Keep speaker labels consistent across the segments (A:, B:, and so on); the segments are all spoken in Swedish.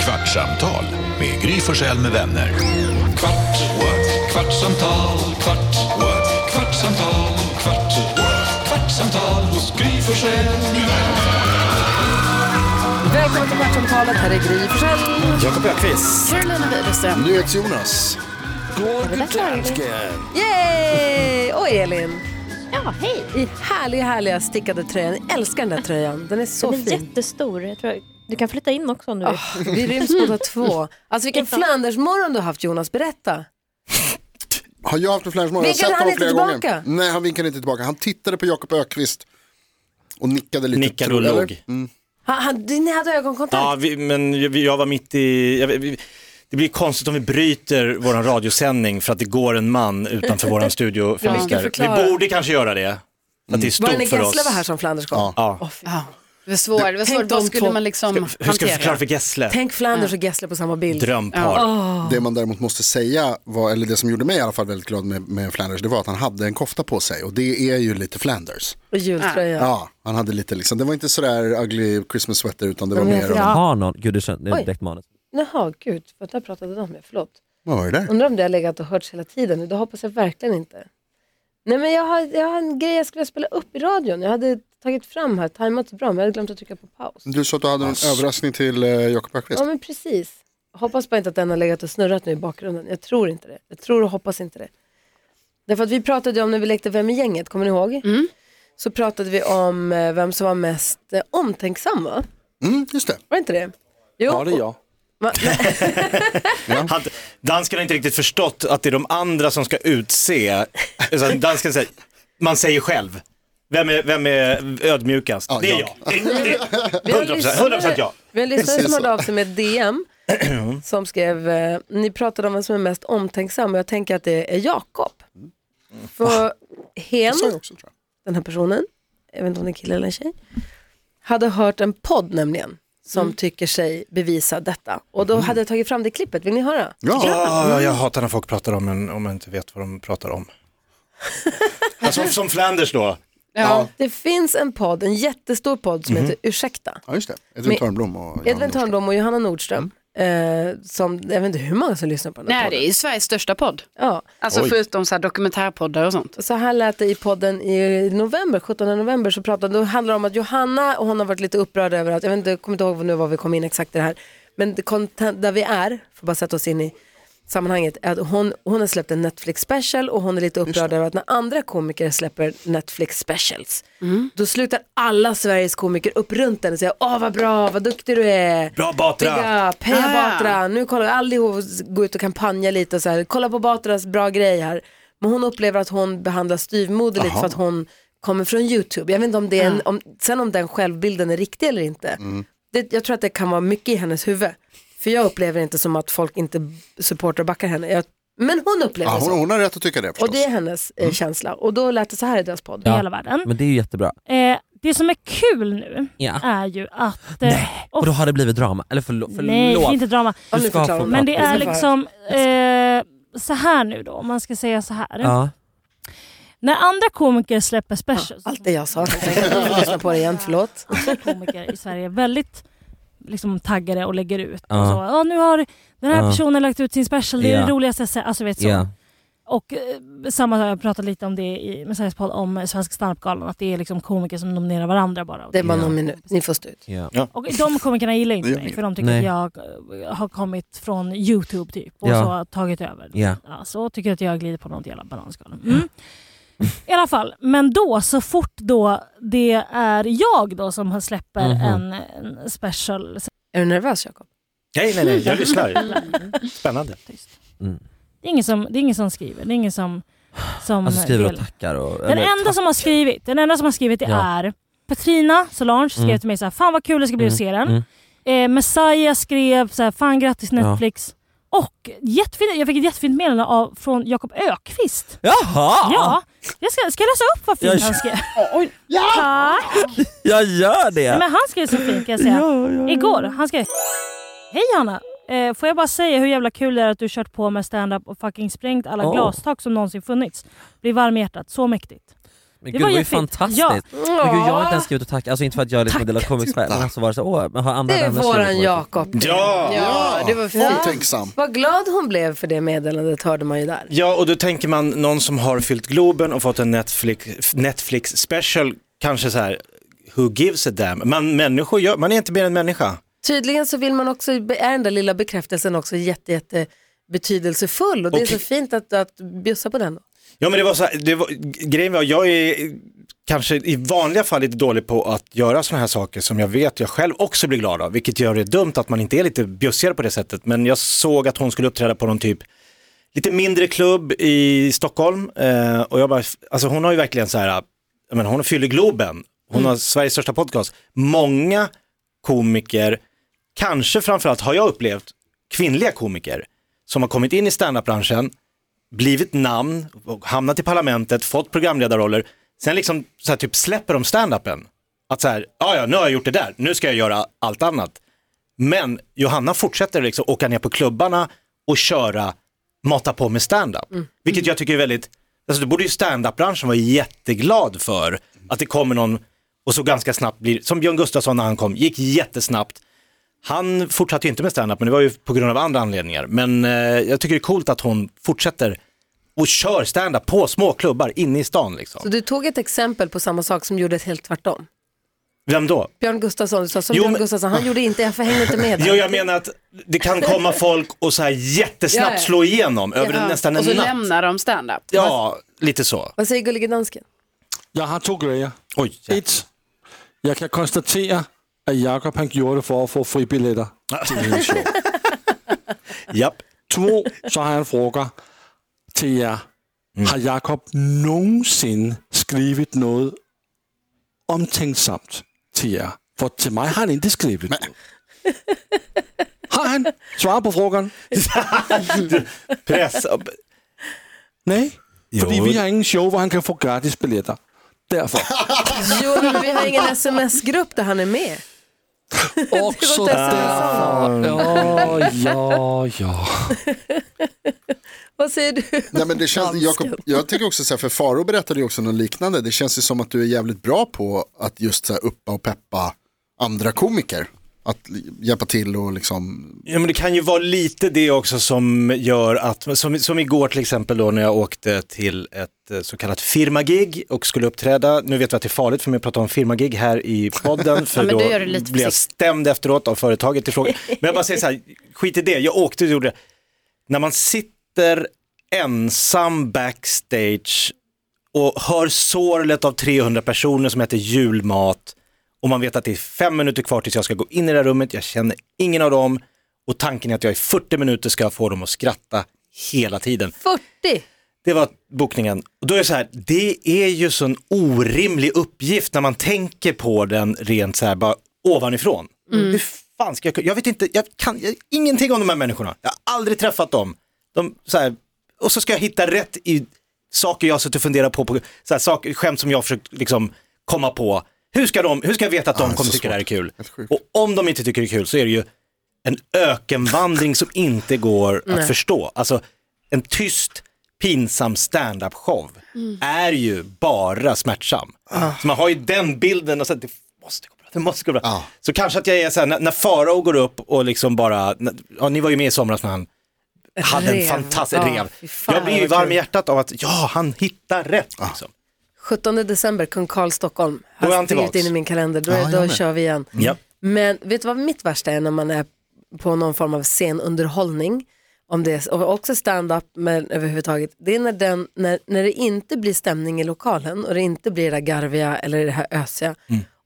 A: Kvartsamtal med Gry Forssell med vänner. Kvart, what? kvartsamtal, kvart, what? kvartsamtal, kvart, what? kvartsamtal hos Gry Forssell med vänner.
B: Välkommen till Kvartsamtalet. Här är Gry Forssell.
C: Jakob Öqvist.
D: Carolina Widerström.
C: NyhetsJonas.
B: Yay! Och Elin.
D: Ja, hej.
B: I härliga, härliga stickade tröjan. Jag älskar den där tröjan. Den är så
D: Den är
B: fin.
D: jättestor. Jag tror jag... Du kan flytta in också om
E: Ah.
D: du vill.
B: Vi ryms båda två. Alltså vilken
D: Titta.
B: Flandersmorgon du har haft Jonas, berätta.
F: Har jag haft en flashmob? Jag
B: Vinkade
F: har sett
B: han
F: honom
B: inte
F: flera
B: tillbaka?
F: gånger. Nej, han vinkade inte tillbaka. Han tittade på Jakob Ökvist och nickade lite.
C: Nickade
F: tror
C: och
F: jag,
C: låg.
F: eller? Mm.
B: Han, han, ni hade ögonkontakt.
C: Ja, vi, men jag, jag var mitt i... Jag, vi, det blir konstigt om vi bryter vår radiosändning för att det går en man utanför vår
B: mycket att
C: studiofönster.
B: förklara.
C: Vi borde kanske göra det. Att det är
B: var det när
C: stort för
B: Gessle
C: oss.
B: var här som Flanders kom?
C: Ja.
G: Det var svårt. Det var
B: Tänk
G: svårt. Vad
B: de
G: skulle
B: två.
G: man liksom
C: Hur ska vi förklara
G: hantera?
C: för Gessle?
B: Tänk Flanders och Gessle på samma bild.
C: Drömpar.
B: Ah.
F: Det man däremot måste säga, var, eller det som gjorde mig i alla fall väldigt glad med, med Flanders, det var att han hade en kofta på sig och det är ju lite Flanders.
B: Och jultröja.
F: Ja, han hade lite liksom, det var inte sådär ugly Christmas sweater utan det var
B: Men jag
F: mer,
B: tror-
F: av-
B: Ja.
H: har någon, gud det känns, det
B: Oj.
H: är direkt manus.
B: Jaha, gud. För där pratade de med. Förlåt.
F: vad var det där?
B: Undrar om det har legat och hörts hela tiden. Det hoppas jag verkligen inte. Nej men jag har, jag har en grej jag skulle spela upp i radion. Jag hade tagit fram här, tajmat så bra men jag hade glömt att trycka på paus.
F: Du sa att du hade en överraskning till eh, Jakob Ökvist.
B: Ja men precis. Hoppas bara inte att den har legat och snurrat nu i bakgrunden. Jag tror inte det. Jag tror och hoppas inte det. Därför att vi pratade ju om när vi lekte Vem i gänget, kommer ni ihåg? Så pratade vi om eh, vem som var mest eh, omtänksam va?
F: Mm, just det.
B: Var det inte det? Jo, ja, det är jag.
C: Han, dansken har inte riktigt förstått att det är de andra som ska utse. Så dansken säger, man säger själv. Vem är, vem är ödmjukast?
F: Ja,
C: det är jag.
F: jag.
C: Det är 100%, 100% jag.
B: Vi har en lyssnare som
F: Precis
B: hörde
F: så.
B: av sig med ett DM som skrev, eh, ni pratade om vem som är mest omtänksam och jag tänker att det är Jakob. För hen,
F: Det sa jag också tror jag.
B: den här personen, jag vet inte om det är en kille eller en tjej, hade hört en podd nämligen som tycker sig bevisa detta. Och då
F: Mm.
B: hade jag tagit fram det klippet, vill ni höra?
F: Ja,
C: Ah, jag hatar när folk pratar om en om man inte vet vad de pratar om. alltså, som Flanders då.
G: Ja.
B: Det finns en podd, en jättestor podd
F: Mm-hmm.
B: som heter Ursäkta.
F: ja just det. Edvin
B: Men-
F: Törnblom och Jan
B: Edvin
F: Nordström.
B: Törnblom och Johanna Nordström,
F: Mm.
B: eh, som, jag vet inte hur många som lyssnar på den här
G: Nej,
B: podden.
G: det är ju Sveriges största podd.
B: Ja.
G: Alltså
C: Oj.
G: förutom så här dokumentärpoddar och sånt.
B: Så här lät det i podden i november, 17 november, så pratade, då handlar det om att Johanna, och hon har varit lite upprörd över att, jag vet inte, jag kommer inte ihåg nu var vi kom in exakt i det här, men det content, där vi är, för att bara sätta oss in i sammanhanget, är att hon, hon har släppt en Netflix special och hon är lite upprörd över att när andra komiker släpper Netflix specials, då slutar alla Sveriges komiker upp runt den och säger, åh vad bra, vad duktig du är.
C: Bra Batra.
B: Big up, heja
G: Ah, ja.
B: Batra. Nu kollar allihop gå ut och kampanja lite och så här, kolla på Batras bra grej här. Men hon upplever att hon behandlas styvmoderligt för att hon kommer från YouTube. Jag vet inte om det är en, om, sen om den självbilden är riktig eller inte. Det, jag tror att det kan vara mycket i hennes huvud. För jag upplever inte som att folk inte supportar och backar henne. Jag, men hon upplever
F: Ja,
B: det så.
F: Ah, hon, hon har rätt att tycka det förstås.
B: Och det är hennes eh, känsla. Och då lät det så här i deras podd.
I: i
H: Ja.
I: hela världen.
H: Men det är ju jättebra.
I: Eh, det som är kul nu
H: Ja.
I: är ju att... Eh,
H: Nej, och då har det blivit drama. Eller förlo- förlåt.
I: nej, det är inte drama.
B: Ja,
H: Du
B: nu
H: ska
B: förklarar
H: få
B: hon.
H: prata.
I: Men det är
B: Vi ska
I: liksom eh, så här nu då, om man ska säga så här.
H: Ja.
I: När andra komiker släpper specials,
B: Allt det jag sa, jag tänkte lyssna på det igen, förlåt.
I: andra komiker i Sverige är väldigt liksom, taggade och lägger ut.
H: Ja.
I: Och så, ja, nu har den här
H: Ja.
I: personen lagt ut sin special, det är
H: Ja.
I: det roligaste jag sett. Alltså, vet, så.
H: Ja.
I: Och eh, samma sak, jag pratade lite om det i med Sveriges podd om eh, Svenska standupgalan, att det är liksom komiker som nominerar varandra bara.
B: Det är bara
H: Ja.
B: någon minut, ni får stå ut.
H: Ja.
I: Och de komikerna gillar
F: Det
I: inte
F: gör
I: mig
F: ingen.
I: för de tycker
H: Nej.
I: att jag eh, har kommit från Youtube typ och
H: Ja.
I: så har tagit över.
H: Ja.
I: Ja, så tycker att jag glider på något jävla bananskal. Mm. I alla fall, men då så fort då det är jag då som har släpper
H: Mhm.
I: en, en special.
B: Är du nervös Jakob?
C: Nej, nej, nej, jag lyssnar. Spännande.
H: Mm.
I: Det är ingen som, det är ingen som skriver, det är ingen som, som
H: Alltså skriver och
I: delar.
H: tackar och...
I: Den enda som har skrivit, den enda som har skrivit det
H: Ja.
I: är Petrina Solange skrev
H: Mm.
I: till mig så här, fan vad kul det ska bli att se den.
H: Mm.
I: Eh, Messiah skrev så här, fan grattis
H: Ja.
I: Netflix. Och jättefint, jag fick ett jättefint meddelande av, från Jakob Ökvist.
H: Jaha!
I: Ja, jag ska, ska jag läsa upp vad fint
H: Jag-
I: han skrev? Tack!
H: Jag gör det!
I: Nej, men han skrev så fint kan jag säga. Igår, han skrev Hej Hanna! Eh, får jag bara säga hur jävla kul det är att du kört på med stand-up och fucking sprängt alla
H: Oh.
I: glastak som någonsin funnits. Blir varm i hjärtat, så mäktigt.
H: Men
I: Det
H: gud det var
I: var
H: ju
I: jättefint.
H: fantastiskt.
I: Ja.
H: Men gud, jag har inte ens skrivit och tackat, alltså inte för att jag liksom
I: Tack.
H: delar comics själv, men alltså var det så, åh, men har andra
B: Det är
H: vänner
B: våran
H: skrivit på det?
B: Jakob.
C: Ja!
G: Ja, det var fint.
F: Tänksam.
B: Vad glad hon blev för det meddelandet hörde man ju där.
C: Ja, och då tänker man någon som har fyllt Globen och fått en Netflix, Netflix special, kanske så här, who gives a damn? Man, människor gör, man är inte mer än människa.
B: Tydligen så vill man också, är den där lilla bekräftelsen också jätte, jätte betydelsefull och det är
C: Och-
B: så fint att, att bjussa på den.
C: Ja, men det var så här, det var, grejen var, jag är kanske i vanliga fall lite dålig på att göra sådana här saker som jag vet jag själv också blir glad av, vilket gör det dumt att man inte är lite bjussigare på det sättet. Men jag såg att hon skulle uppträda på någon typ lite mindre klubb i Stockholm eh, och jag bara, alltså hon har ju verkligen så här, jag menar, hon fyller Globen, hon har Sveriges största podcast. Många komiker, kanske framförallt har jag upplevt kvinnliga komiker som har kommit in i standup-branschen, blivit namn, och hamnat i parlamentet, fått programledarroller, sen liksom så här, typ släpper de standupen. Att så här, ja ja, nu har jag gjort det där, nu ska jag göra allt annat. Men Johanna fortsätter liksom åka ner på klubbarna och köra, mata på med standup.
B: Mm.
C: Vilket jag tycker är väldigt, alltså det borde ju standup-branschen vara jätteglad för. Att det kommer någon och så ganska snabbt blir, som Björn Gustafsson när han kom, gick jättesnabbt. Han fortsatte ju inte med standup, men det var ju på grund av andra anledningar. Men eh, jag tycker det är coolt att hon fortsätter och kör standup på små klubbar inne i stan
B: Så
C: liksom.
B: du tog ett exempel på samma sak som gjorde ett helt tvärtom.
C: Vem då?
B: Björn Gustafsson, du sa som
C: Jo,
B: Björn
C: men-
B: Gustafsson, han gjorde inte, jag hängde inte med. där.
C: Jo, jag menar att det kan komma folk och så här jättesnabbt
B: Ja, ja.
C: slå igenom över en, nästan en
G: Och så
C: natt.
G: lämnar de stand-up.
C: Ja, lite så.
B: Vad säger gullige dansken?
J: Jeg har to grejer.
C: Oj, ja.
J: Et. Jeg kan konstatere, at Jakob han gjorde det for at få fribilletter til hendes show.
C: Japp.
J: To, så har jeg en fråga til jer. Har Jakob nogensinde skrevet noget omtænksomt til jer? For til mig har han ikke skrevet noget. Har han? Svar på frågan.
C: Press. upp.
J: Nej, fordi
C: Jo.
J: vi har ingen show, hvor han kan få gratis billetter. Derfor.
B: Jo, men vi har ingen sms-grupp där han är med.
J: Också
B: godt, at
J: derfor. Ja, ja, ja.
B: Vad säger du?
F: Nej, men det känns, Jakob, jag tänker också så här, för Faro berättade ju också något liknande. Det känns ju som att du är jävligt bra på att just så här, uppa och peppa andra komiker. Att li- hjälpa till och liksom,
C: Ja, men det kan ju vara lite det också som gör att, som, som igår till exempel då när jag åkte till ett eh, så kallat firmagig och skulle uppträda, nu vet vi att det är farligt för mig att prata om firmagig här i podden för
G: Ja, men
C: då
G: du gör det lite
C: blev jag stämd efteråt av företaget i fråga. Men jag bara säger så här, skit i det, jag åkte och gjorde det. När man sitter ensam backstage och hör sorlet av 300 personer som äter julmat och man vet att det är fem minuter kvar tills jag ska gå in i det här rummet, jag känner ingen av dem och tanken är att jag i 40 minuter ska få dem att skratta hela tiden.
B: 40!
C: Det var bokningen. Och då är det så här, det är ju så en orimlig uppgift när man tänker på den rent så här bara ovanifrån. Hur fan ska jag kunna- Jag vet inte, jag kan jag, ingenting om de här människorna. Jag har aldrig träffat dem. De, så här, och så ska jag hitta rätt i saker jag har suttit och funderat på, på så här, saker, skämt som jag har försökt liksom, komma på. Hur ska, de, hur ska jag veta att de
F: Ah, det är
C: kommer
F: så
C: tycka det här är kul?
F: Helt sjukt.
C: Och om de inte tycker det är kul så är det ju en ökenvandring som inte går att förstå. Alltså en tyst, pinsam standup-show
B: Mm.
C: är ju bara smärtsam.
B: Ah.
C: Så man har ju den bilden och så att det måste gå bra, det måste gå bra.
F: Ah.
C: Så kanske att jag är så här, när, när Farao går upp och liksom bara, när, ja ni var ju med i somras när han hade
B: rev.
C: en fantastisk
B: Ja,
C: rev.
B: fy fan,
C: Jag blir ju
B: vad
C: varm
B: kul.
C: i hjärtat av att, ja han hittar rätt liksom.
B: 17 december, Kung Karl Stockholm.
C: Då är
B: Har
C: han
B: skrivit
C: tillbaks.
B: in i min kalender, då,
F: Ja, jag
B: då
F: med.
B: kör vi igen.
C: Ja.
B: Men vet du vad mitt värsta är när man är på någon form av scenunderhållning? Om det är, och också stand-up men överhuvudtaget. Det är när, den, när, när det inte blir stämning i lokalen och det inte blir det där garviga eller det här ösiga.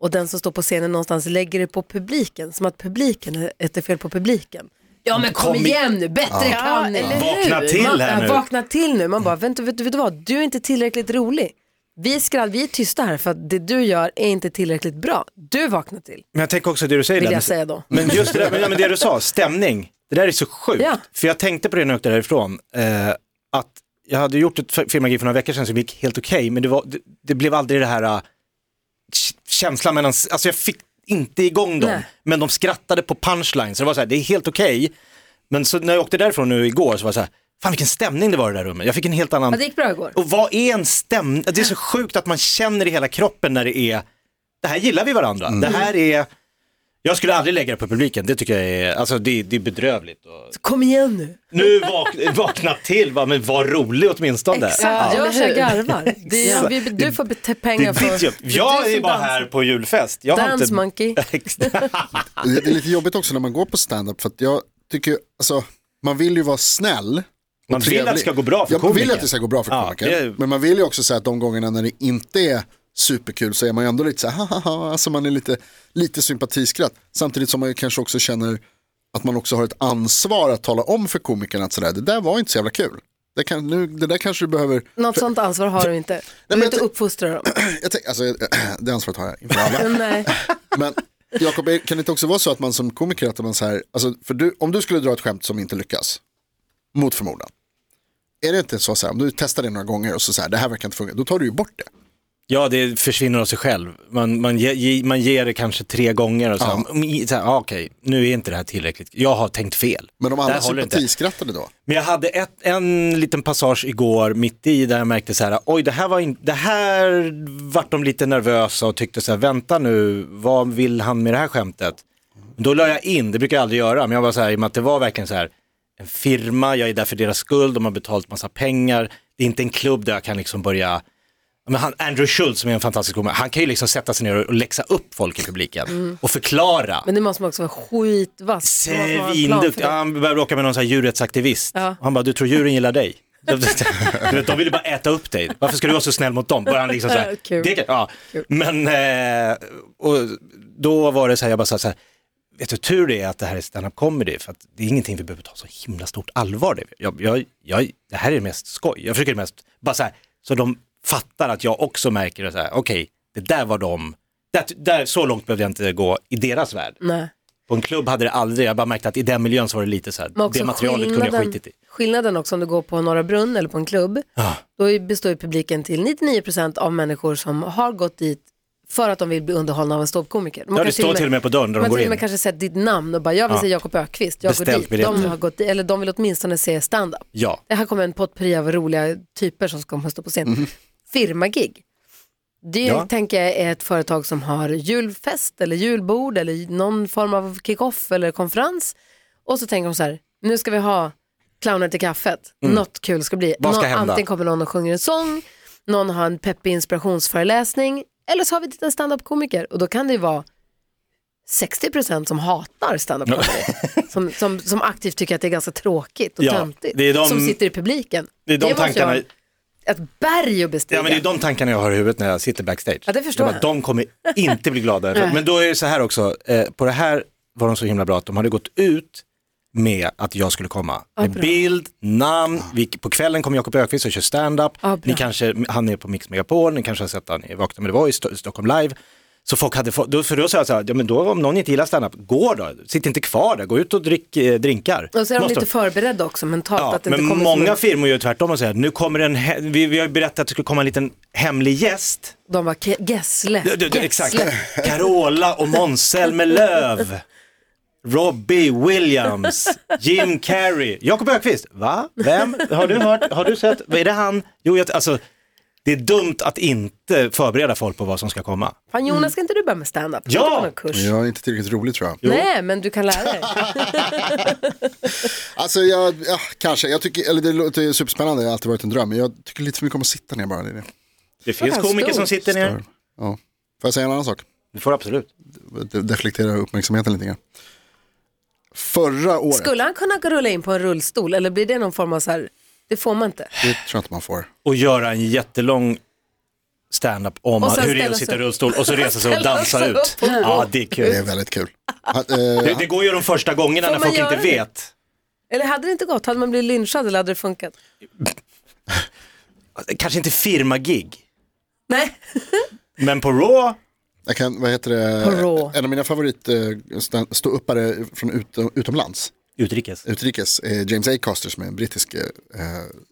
B: Och den som står på scenen någonstans lägger det på publiken, som att publiken är ett är fel på publiken. Ja men kom,
C: Kom i-
B: igen nu, bättre kan ni.
G: eller
C: Vakna till
B: man,
C: här nu.
B: Vakna till nu, man bara, vänta, vet, du- vet du vad, du är inte tillräckligt rolig. Vi, skrall, vi är tysta här för att det du gör är inte tillräckligt bra. Du vaknar till,
C: Men jag tänker också det du säger
B: vill
C: där,
B: jag
C: med-
B: säga då.
C: Men Mm. just det, där, men, ja, men det du sa, stämning, det där är så sjukt.
B: Ja.
C: För jag tänkte på det när jag åkte därifrån, eh, att jag hade gjort ett f- firmagrej för några veckor sedan som gick helt okej, men det, var, det, det blev aldrig det här eh, k- känslan mellan, alltså jag fick inte igång dem,
B: Nej.
C: men de skrattade på punchline, så det var så här, det är helt okej. Men så när jag åkte därifrån nu igår så var det så här, Fan vilken stämning det var i det där rummet. Jag fick en helt annan...
B: Ja, det gick bra igår.
C: Och vad är en stämning? Det är så sjukt att man känner i hela kroppen när det är, det här gillar vi varandra.
B: Mm.
C: Det här är, jag skulle aldrig lägga det på publiken. Det tycker jag är, alltså det, det är bedrövligt. Och...
B: Så kom igen nu.
C: Nu vak vakna till, va? men var rolig åtminstone.
B: Exakt,
G: Ja.
B: jag kör garvar. Det är,
C: Exakt.
B: vi, du får bete-
C: Det
B: pengar
C: är ditt jobb.
B: för...
C: Jag
B: du
C: är
B: som
C: bara
B: dansar.
C: här på julfest. Jag har
B: Dance
C: inte...
B: monkey.
C: Exakt.
F: Det det är lite jobbigt också när man går på stand-up för att jag tycker, ju- alltså, man vill ju vara snäll. och
C: Man vill att det ska gå bra för
F: Ja, Man vill
C: komiker.
F: att det ska gå bra för
C: Ja,
F: komiker.
C: det är-
F: Men man vill ju också säga att de gångerna när det inte är superkul så är man ju ändå lite så här, hahaha, alltså man är lite, lite sympatiskratt. Samtidigt som man ju kanske också känner att man också har ett ansvar att tala om för komikerna att sådär, det där var inte så jävla kul. Det, kan, nu, det där kanske du behöver
B: Något sånt ansvar har du inte. Du
F: men
B: är
F: jag
B: inte
F: tänk-
B: uppfostra dem.
F: jag tänk, alltså, det ansvaret har jag inför alla.
B: Nej.
F: Men Jakob, är- kan det inte också vara så att man som komiker, att man så här, alltså, för du, om du skulle dra ett skämt som inte lyckas, mot förmodan, är det inte så, så här, om du testar det några gånger och så, så här, det här verkar inte fungera, då tar du ju bort det.
C: Ja, det försvinner av sig själv. Man, man, ge, ge, man ger det kanske tre gånger och så, ja. så här, ah, okej, nu är inte det här tillräckligt. Jag har tänkt fel.
F: Men om
C: Det
F: alla
C: här håller inte.
F: sympatiskrattade då?
C: Men jag hade ett, en liten passage igår mitt i där jag märkte så här, oj det här var in, det här vart de lite nervösa och tyckte så här, vänta nu, vad vill han med det här skämtet? Då la jag in, det brukar jag aldrig göra, men jag var så här, i och med att det var verkligen så här, en firma, jag är där för deras skuld, de har betalat massa pengar, det är inte en klubb där jag kan liksom börja Ja, Men han, Andrew Schultz som är en fantastisk komiker, han kan ju liksom sätta sig ner och läxa upp folk i publiken och förklara.
B: Men det måste man också vara skitvass. Det måste man ha en plan för
C: Svindukt.
B: det.
C: Ja, han började bråka med någon sån här djurrättsaktivist.
B: Ja.
C: Han bara, du tror djuren gillar dig? Du vet, de vill ju bara äta upp dig. Varför ska du vara så snäll mot dem? Började han liksom så här.
B: Kul.
C: Det kan- ja. Men eh, och då var det så här, jag bara sa så här, vet du tur det är att det här är stand-up comedy, för att det är ingenting vi behöver ta så himla stort allvar. Det, jag, jag, jag, det här är mest skoj. Jag försöker mest, bara så här, så de fattar att jag också märker det så här, okej, det där var de, där, där, så långt behövde jag inte gå i deras värld.
B: Nej.
C: På en klubb hade det aldrig, jag bara märkte att i den miljön så var det lite så här,
B: Men också
C: det materialet kunde jag
B: skillnaden-
C: skitit i.
B: Skillnaden också om du går på Norra Brunn eller på en klubb,
C: Ja.
B: då är- består ju publiken till 99% av människor som har gått dit för att de vill bli underhållna av en ståuppkomiker. Man
C: Ja,
B: kan
C: det står till och med på dörren där de
B: Man
C: går
B: till och
C: in.
B: med kanske sett ditt namn och bara, jag vill
C: Ja.
B: se Jakob Ökvist. jag går
C: Beställt
B: dit.
C: biljett.
B: De, har gått, eller de vill åtminstone se stand-up.
C: Ja, Mhm.
B: Det här kommer en potpurri av roliga typer som ska komma och stå på scen. Firmagig. Det
C: Ja.
B: tänker jag är ett företag som har julfest eller julbord eller någon form av kick-off eller konferens. Och så tänker de så här, nu ska vi ha clowner till kaffet. Något kul ska bli.
C: Mm. Vad ska
B: någon,
C: hända?
B: Antingen kommer någon och sjunger en sång, någon har en peppig inspirationsföreläsning eller så har vi dit en standup-komiker. Och då kan det ju vara 60% som hatar stand-up comedy. som, som, som aktivt tycker att det är ganska tråkigt och
C: Ja,
B: töntigt.
C: det är de-
B: som sitter i publiken.
C: det är de
B: måste
C: tankarna.
B: jag- Ett berg att bestiga.
C: Ja, men det är de tankarna jag har i huvudet när jag sitter backstage.
B: Ja, det förstår
C: bara,
B: jag.
C: De kommer inte bli glada. över- men då är det så här också, eh, på det här var de så himla bra att de hade gått ut med att jag skulle komma. med bild, namn, vi, på kvällen kommer Jakob Ökvist och kör stand-up.
B: Ja, bra.
C: ni kanske, han är på Mix Megapol, ni kanske har sett han i Vakna med det var i Sto- Stockholm Live. Så folk hade fått, då, för då sa jag så här, ja, men då om någon inte gillar stand-up, gå då, sitt inte kvar där, gå ut och drick eh, drinkar.
B: Och så är de
C: Måste
B: lite förberedda också mentalt.
C: Ja,
B: att det inte
C: men
B: kommer
C: många
B: som...
C: firmor gör tvärtom och säger nu kommer en, he- vi, vi har ju berättat att det skulle komma en liten hemlig gäst.
B: De bara, "Ke- Gessle.
C: Du, du, du,
B: Gessle."
C: exakt. Carola och Måns Löv. Robbie Williams, Jim Carrey, Jakob Ökvist. Va? Vem? Har du hört? Har du sett? Vad Är det han? Jo, jag, alltså, det är dumt att inte förbereda folk på vad som ska komma.
B: Fan Jonas, ska inte du börja med stand-up?
C: Mm. Ja!
B: Ska du gå någon Kurs?
F: Jag är inte tillräckligt rolig tror jag.
B: Nej, men du kan lära dig.
F: Alltså jag, ja, kanske, jag tycker, eller det låter superspännande, det har alltid varit en dröm, men jag tycker lite för mycket om att sitta ner bara. Det är det.
C: Det finns
B: här
C: komiker som
B: stort.
C: sitter ner.
F: Ja. Får jag säga en annan sak?
C: Du får absolut.
F: De- Deflektera uppmärksamheten lite grann. Förra året,
B: Skulle han kunna rulla in på en rullstol eller blir det någon form av så här, det får man inte.
F: det tror jag inte man får.
C: Och göra en jättelång stand-up om
B: Och sen
C: hur det är
B: ställa
C: att sitta i
B: sig-
C: rullstol och så resa sig och
B: ställa
C: dansa
B: sig
C: ut.
B: upp och gå.
C: Ja, det är kul.
F: Det är väldigt kul. Ha- eh,
C: Det, det går ju de första gångerna
B: Får
C: när
B: man
C: folk inte
B: göra det?
C: vet.
B: Eller hade det inte gått? Hade man blivit lynchad eller hade det funkat?
C: Kanske inte firmagig,
B: Nej.
C: men på Raw,
F: Jag kan, vad heter
B: På
F: det,
B: Raw.
F: en av mina favorit eh, stand- ståuppare från ut, utomlands,
C: utrikes.
F: utrikes, är James Acaster som är en brittisk eh,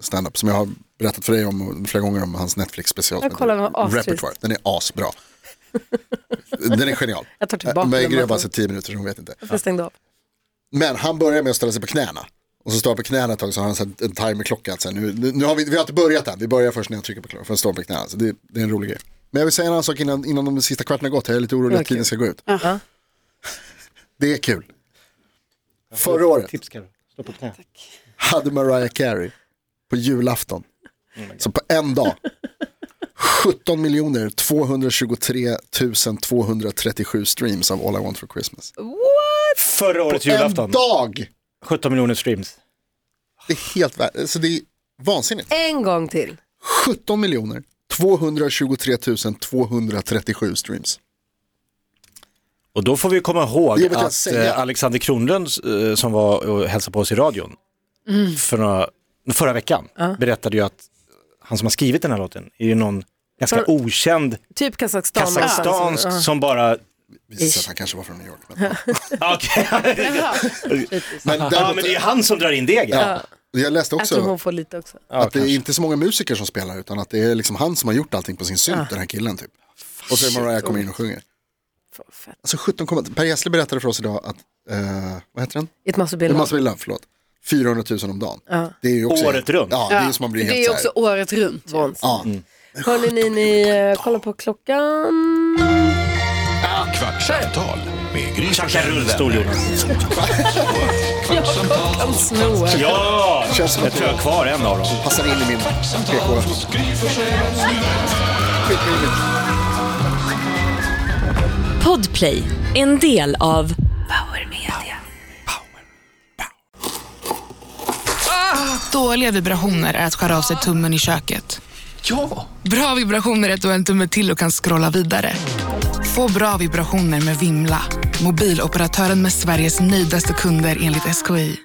F: standup som jag har berättat för dig om och flera gånger om hans Netflix-special. som
B: Jag kollar,
F: heter
B: vad astrist.
F: Repertoire, den är asbra. den är genial. Eh,
B: Jag tar tillbaka
F: Äh, Men
B: den.
F: jag har bara sett tio minuter, så hon vet inte.
B: Jag stängde av.
F: Men han börjar med att ställa sig på knäna Och så står jag på knäna ett tag så har han så här en timerklocka. att Så här, nu, nu- nu har vi, vi har inte börjat än, vi börjar först när jag trycker på klockan. För jag står på knäna, så det, det är en rolig grej. Men jag vill säga en annan sak innan, innan de sista kvarten har gått. Jag är lite orolig att tiden ska gå ut.
B: Ja.
F: Det är kul. Förra året
C: Tips Carro, stå på knä.
F: hade Mariah Carey på julafton. så på en dag. 17 miljoner 223 237 streams av All I Want For Christmas.
C: Förra årets
F: En
C: julafton,
F: dag!
C: 17 miljoner streams.
F: Det är helt värt, alltså det är vansinnigt.
B: En gång till.
F: 17 miljoner 223 237 streams.
C: Och då får vi komma ihåg
F: Det vill jag
C: att
F: säga.
C: eh, Alexander Kronlund eh, som var och hälsade på oss i radion
B: Mm.
C: för några, förra veckan berättade ju att han som har skrivit den här låten är ju någon ganska
B: För-
C: okänd
B: Typ Kazakstan.
C: kazakstansk
B: någonstans.
C: som bara...
F: Visar sig att han kanske var från New York. Men,
C: Okej.
F: men
C: ja, men
F: däremot,
C: det är ju han som drar in degen.
F: ja, jag läste
B: Jag tror
F: också
B: hon får lite också.
F: att det är inte så många musiker som spelar utan att det är liksom han som har gjort allting på sin synt, den här killen typ. Och så är Mariah kommer in och sjunger.
B: Fan, vad fett.
F: Alltså 17, komma- per Gessle berättade för oss idag att, eh, vad heter den?
B: Ett massobild.
F: Massa Villa, förlåt. 400 000 om dagen. Det är ju också
C: Året runt.
F: Ja, det är ju som man blir
G: Det
F: helt
G: är
F: så här.
G: också året runt.
F: Ja.
B: Hörni, ni, ni eh, kollar på klockan.
A: Kvartsamtal med Gry Forssell med
C: rullstol,
A: vänner.
C: Jonas.
A: Kvart, kvartsamtal,
C: Ja,
F: Känns som
C: jag
F: att
C: tror jag har kvar en av dem.
F: passar in i min
A: kvartsamtal
F: PK.
A: hos Gry Forssell med vänner.
E: Podplay, en del av Power Media.
K: Dåliga vibrationer är att skära av sig tummen i köket. Ja! Bra vibrationer är att du har en tumme till och kan scrolla vidare. Få bra vibrationer med Vimla. Mobiloperatören med Sveriges nöjdaste kunder enligt SKI.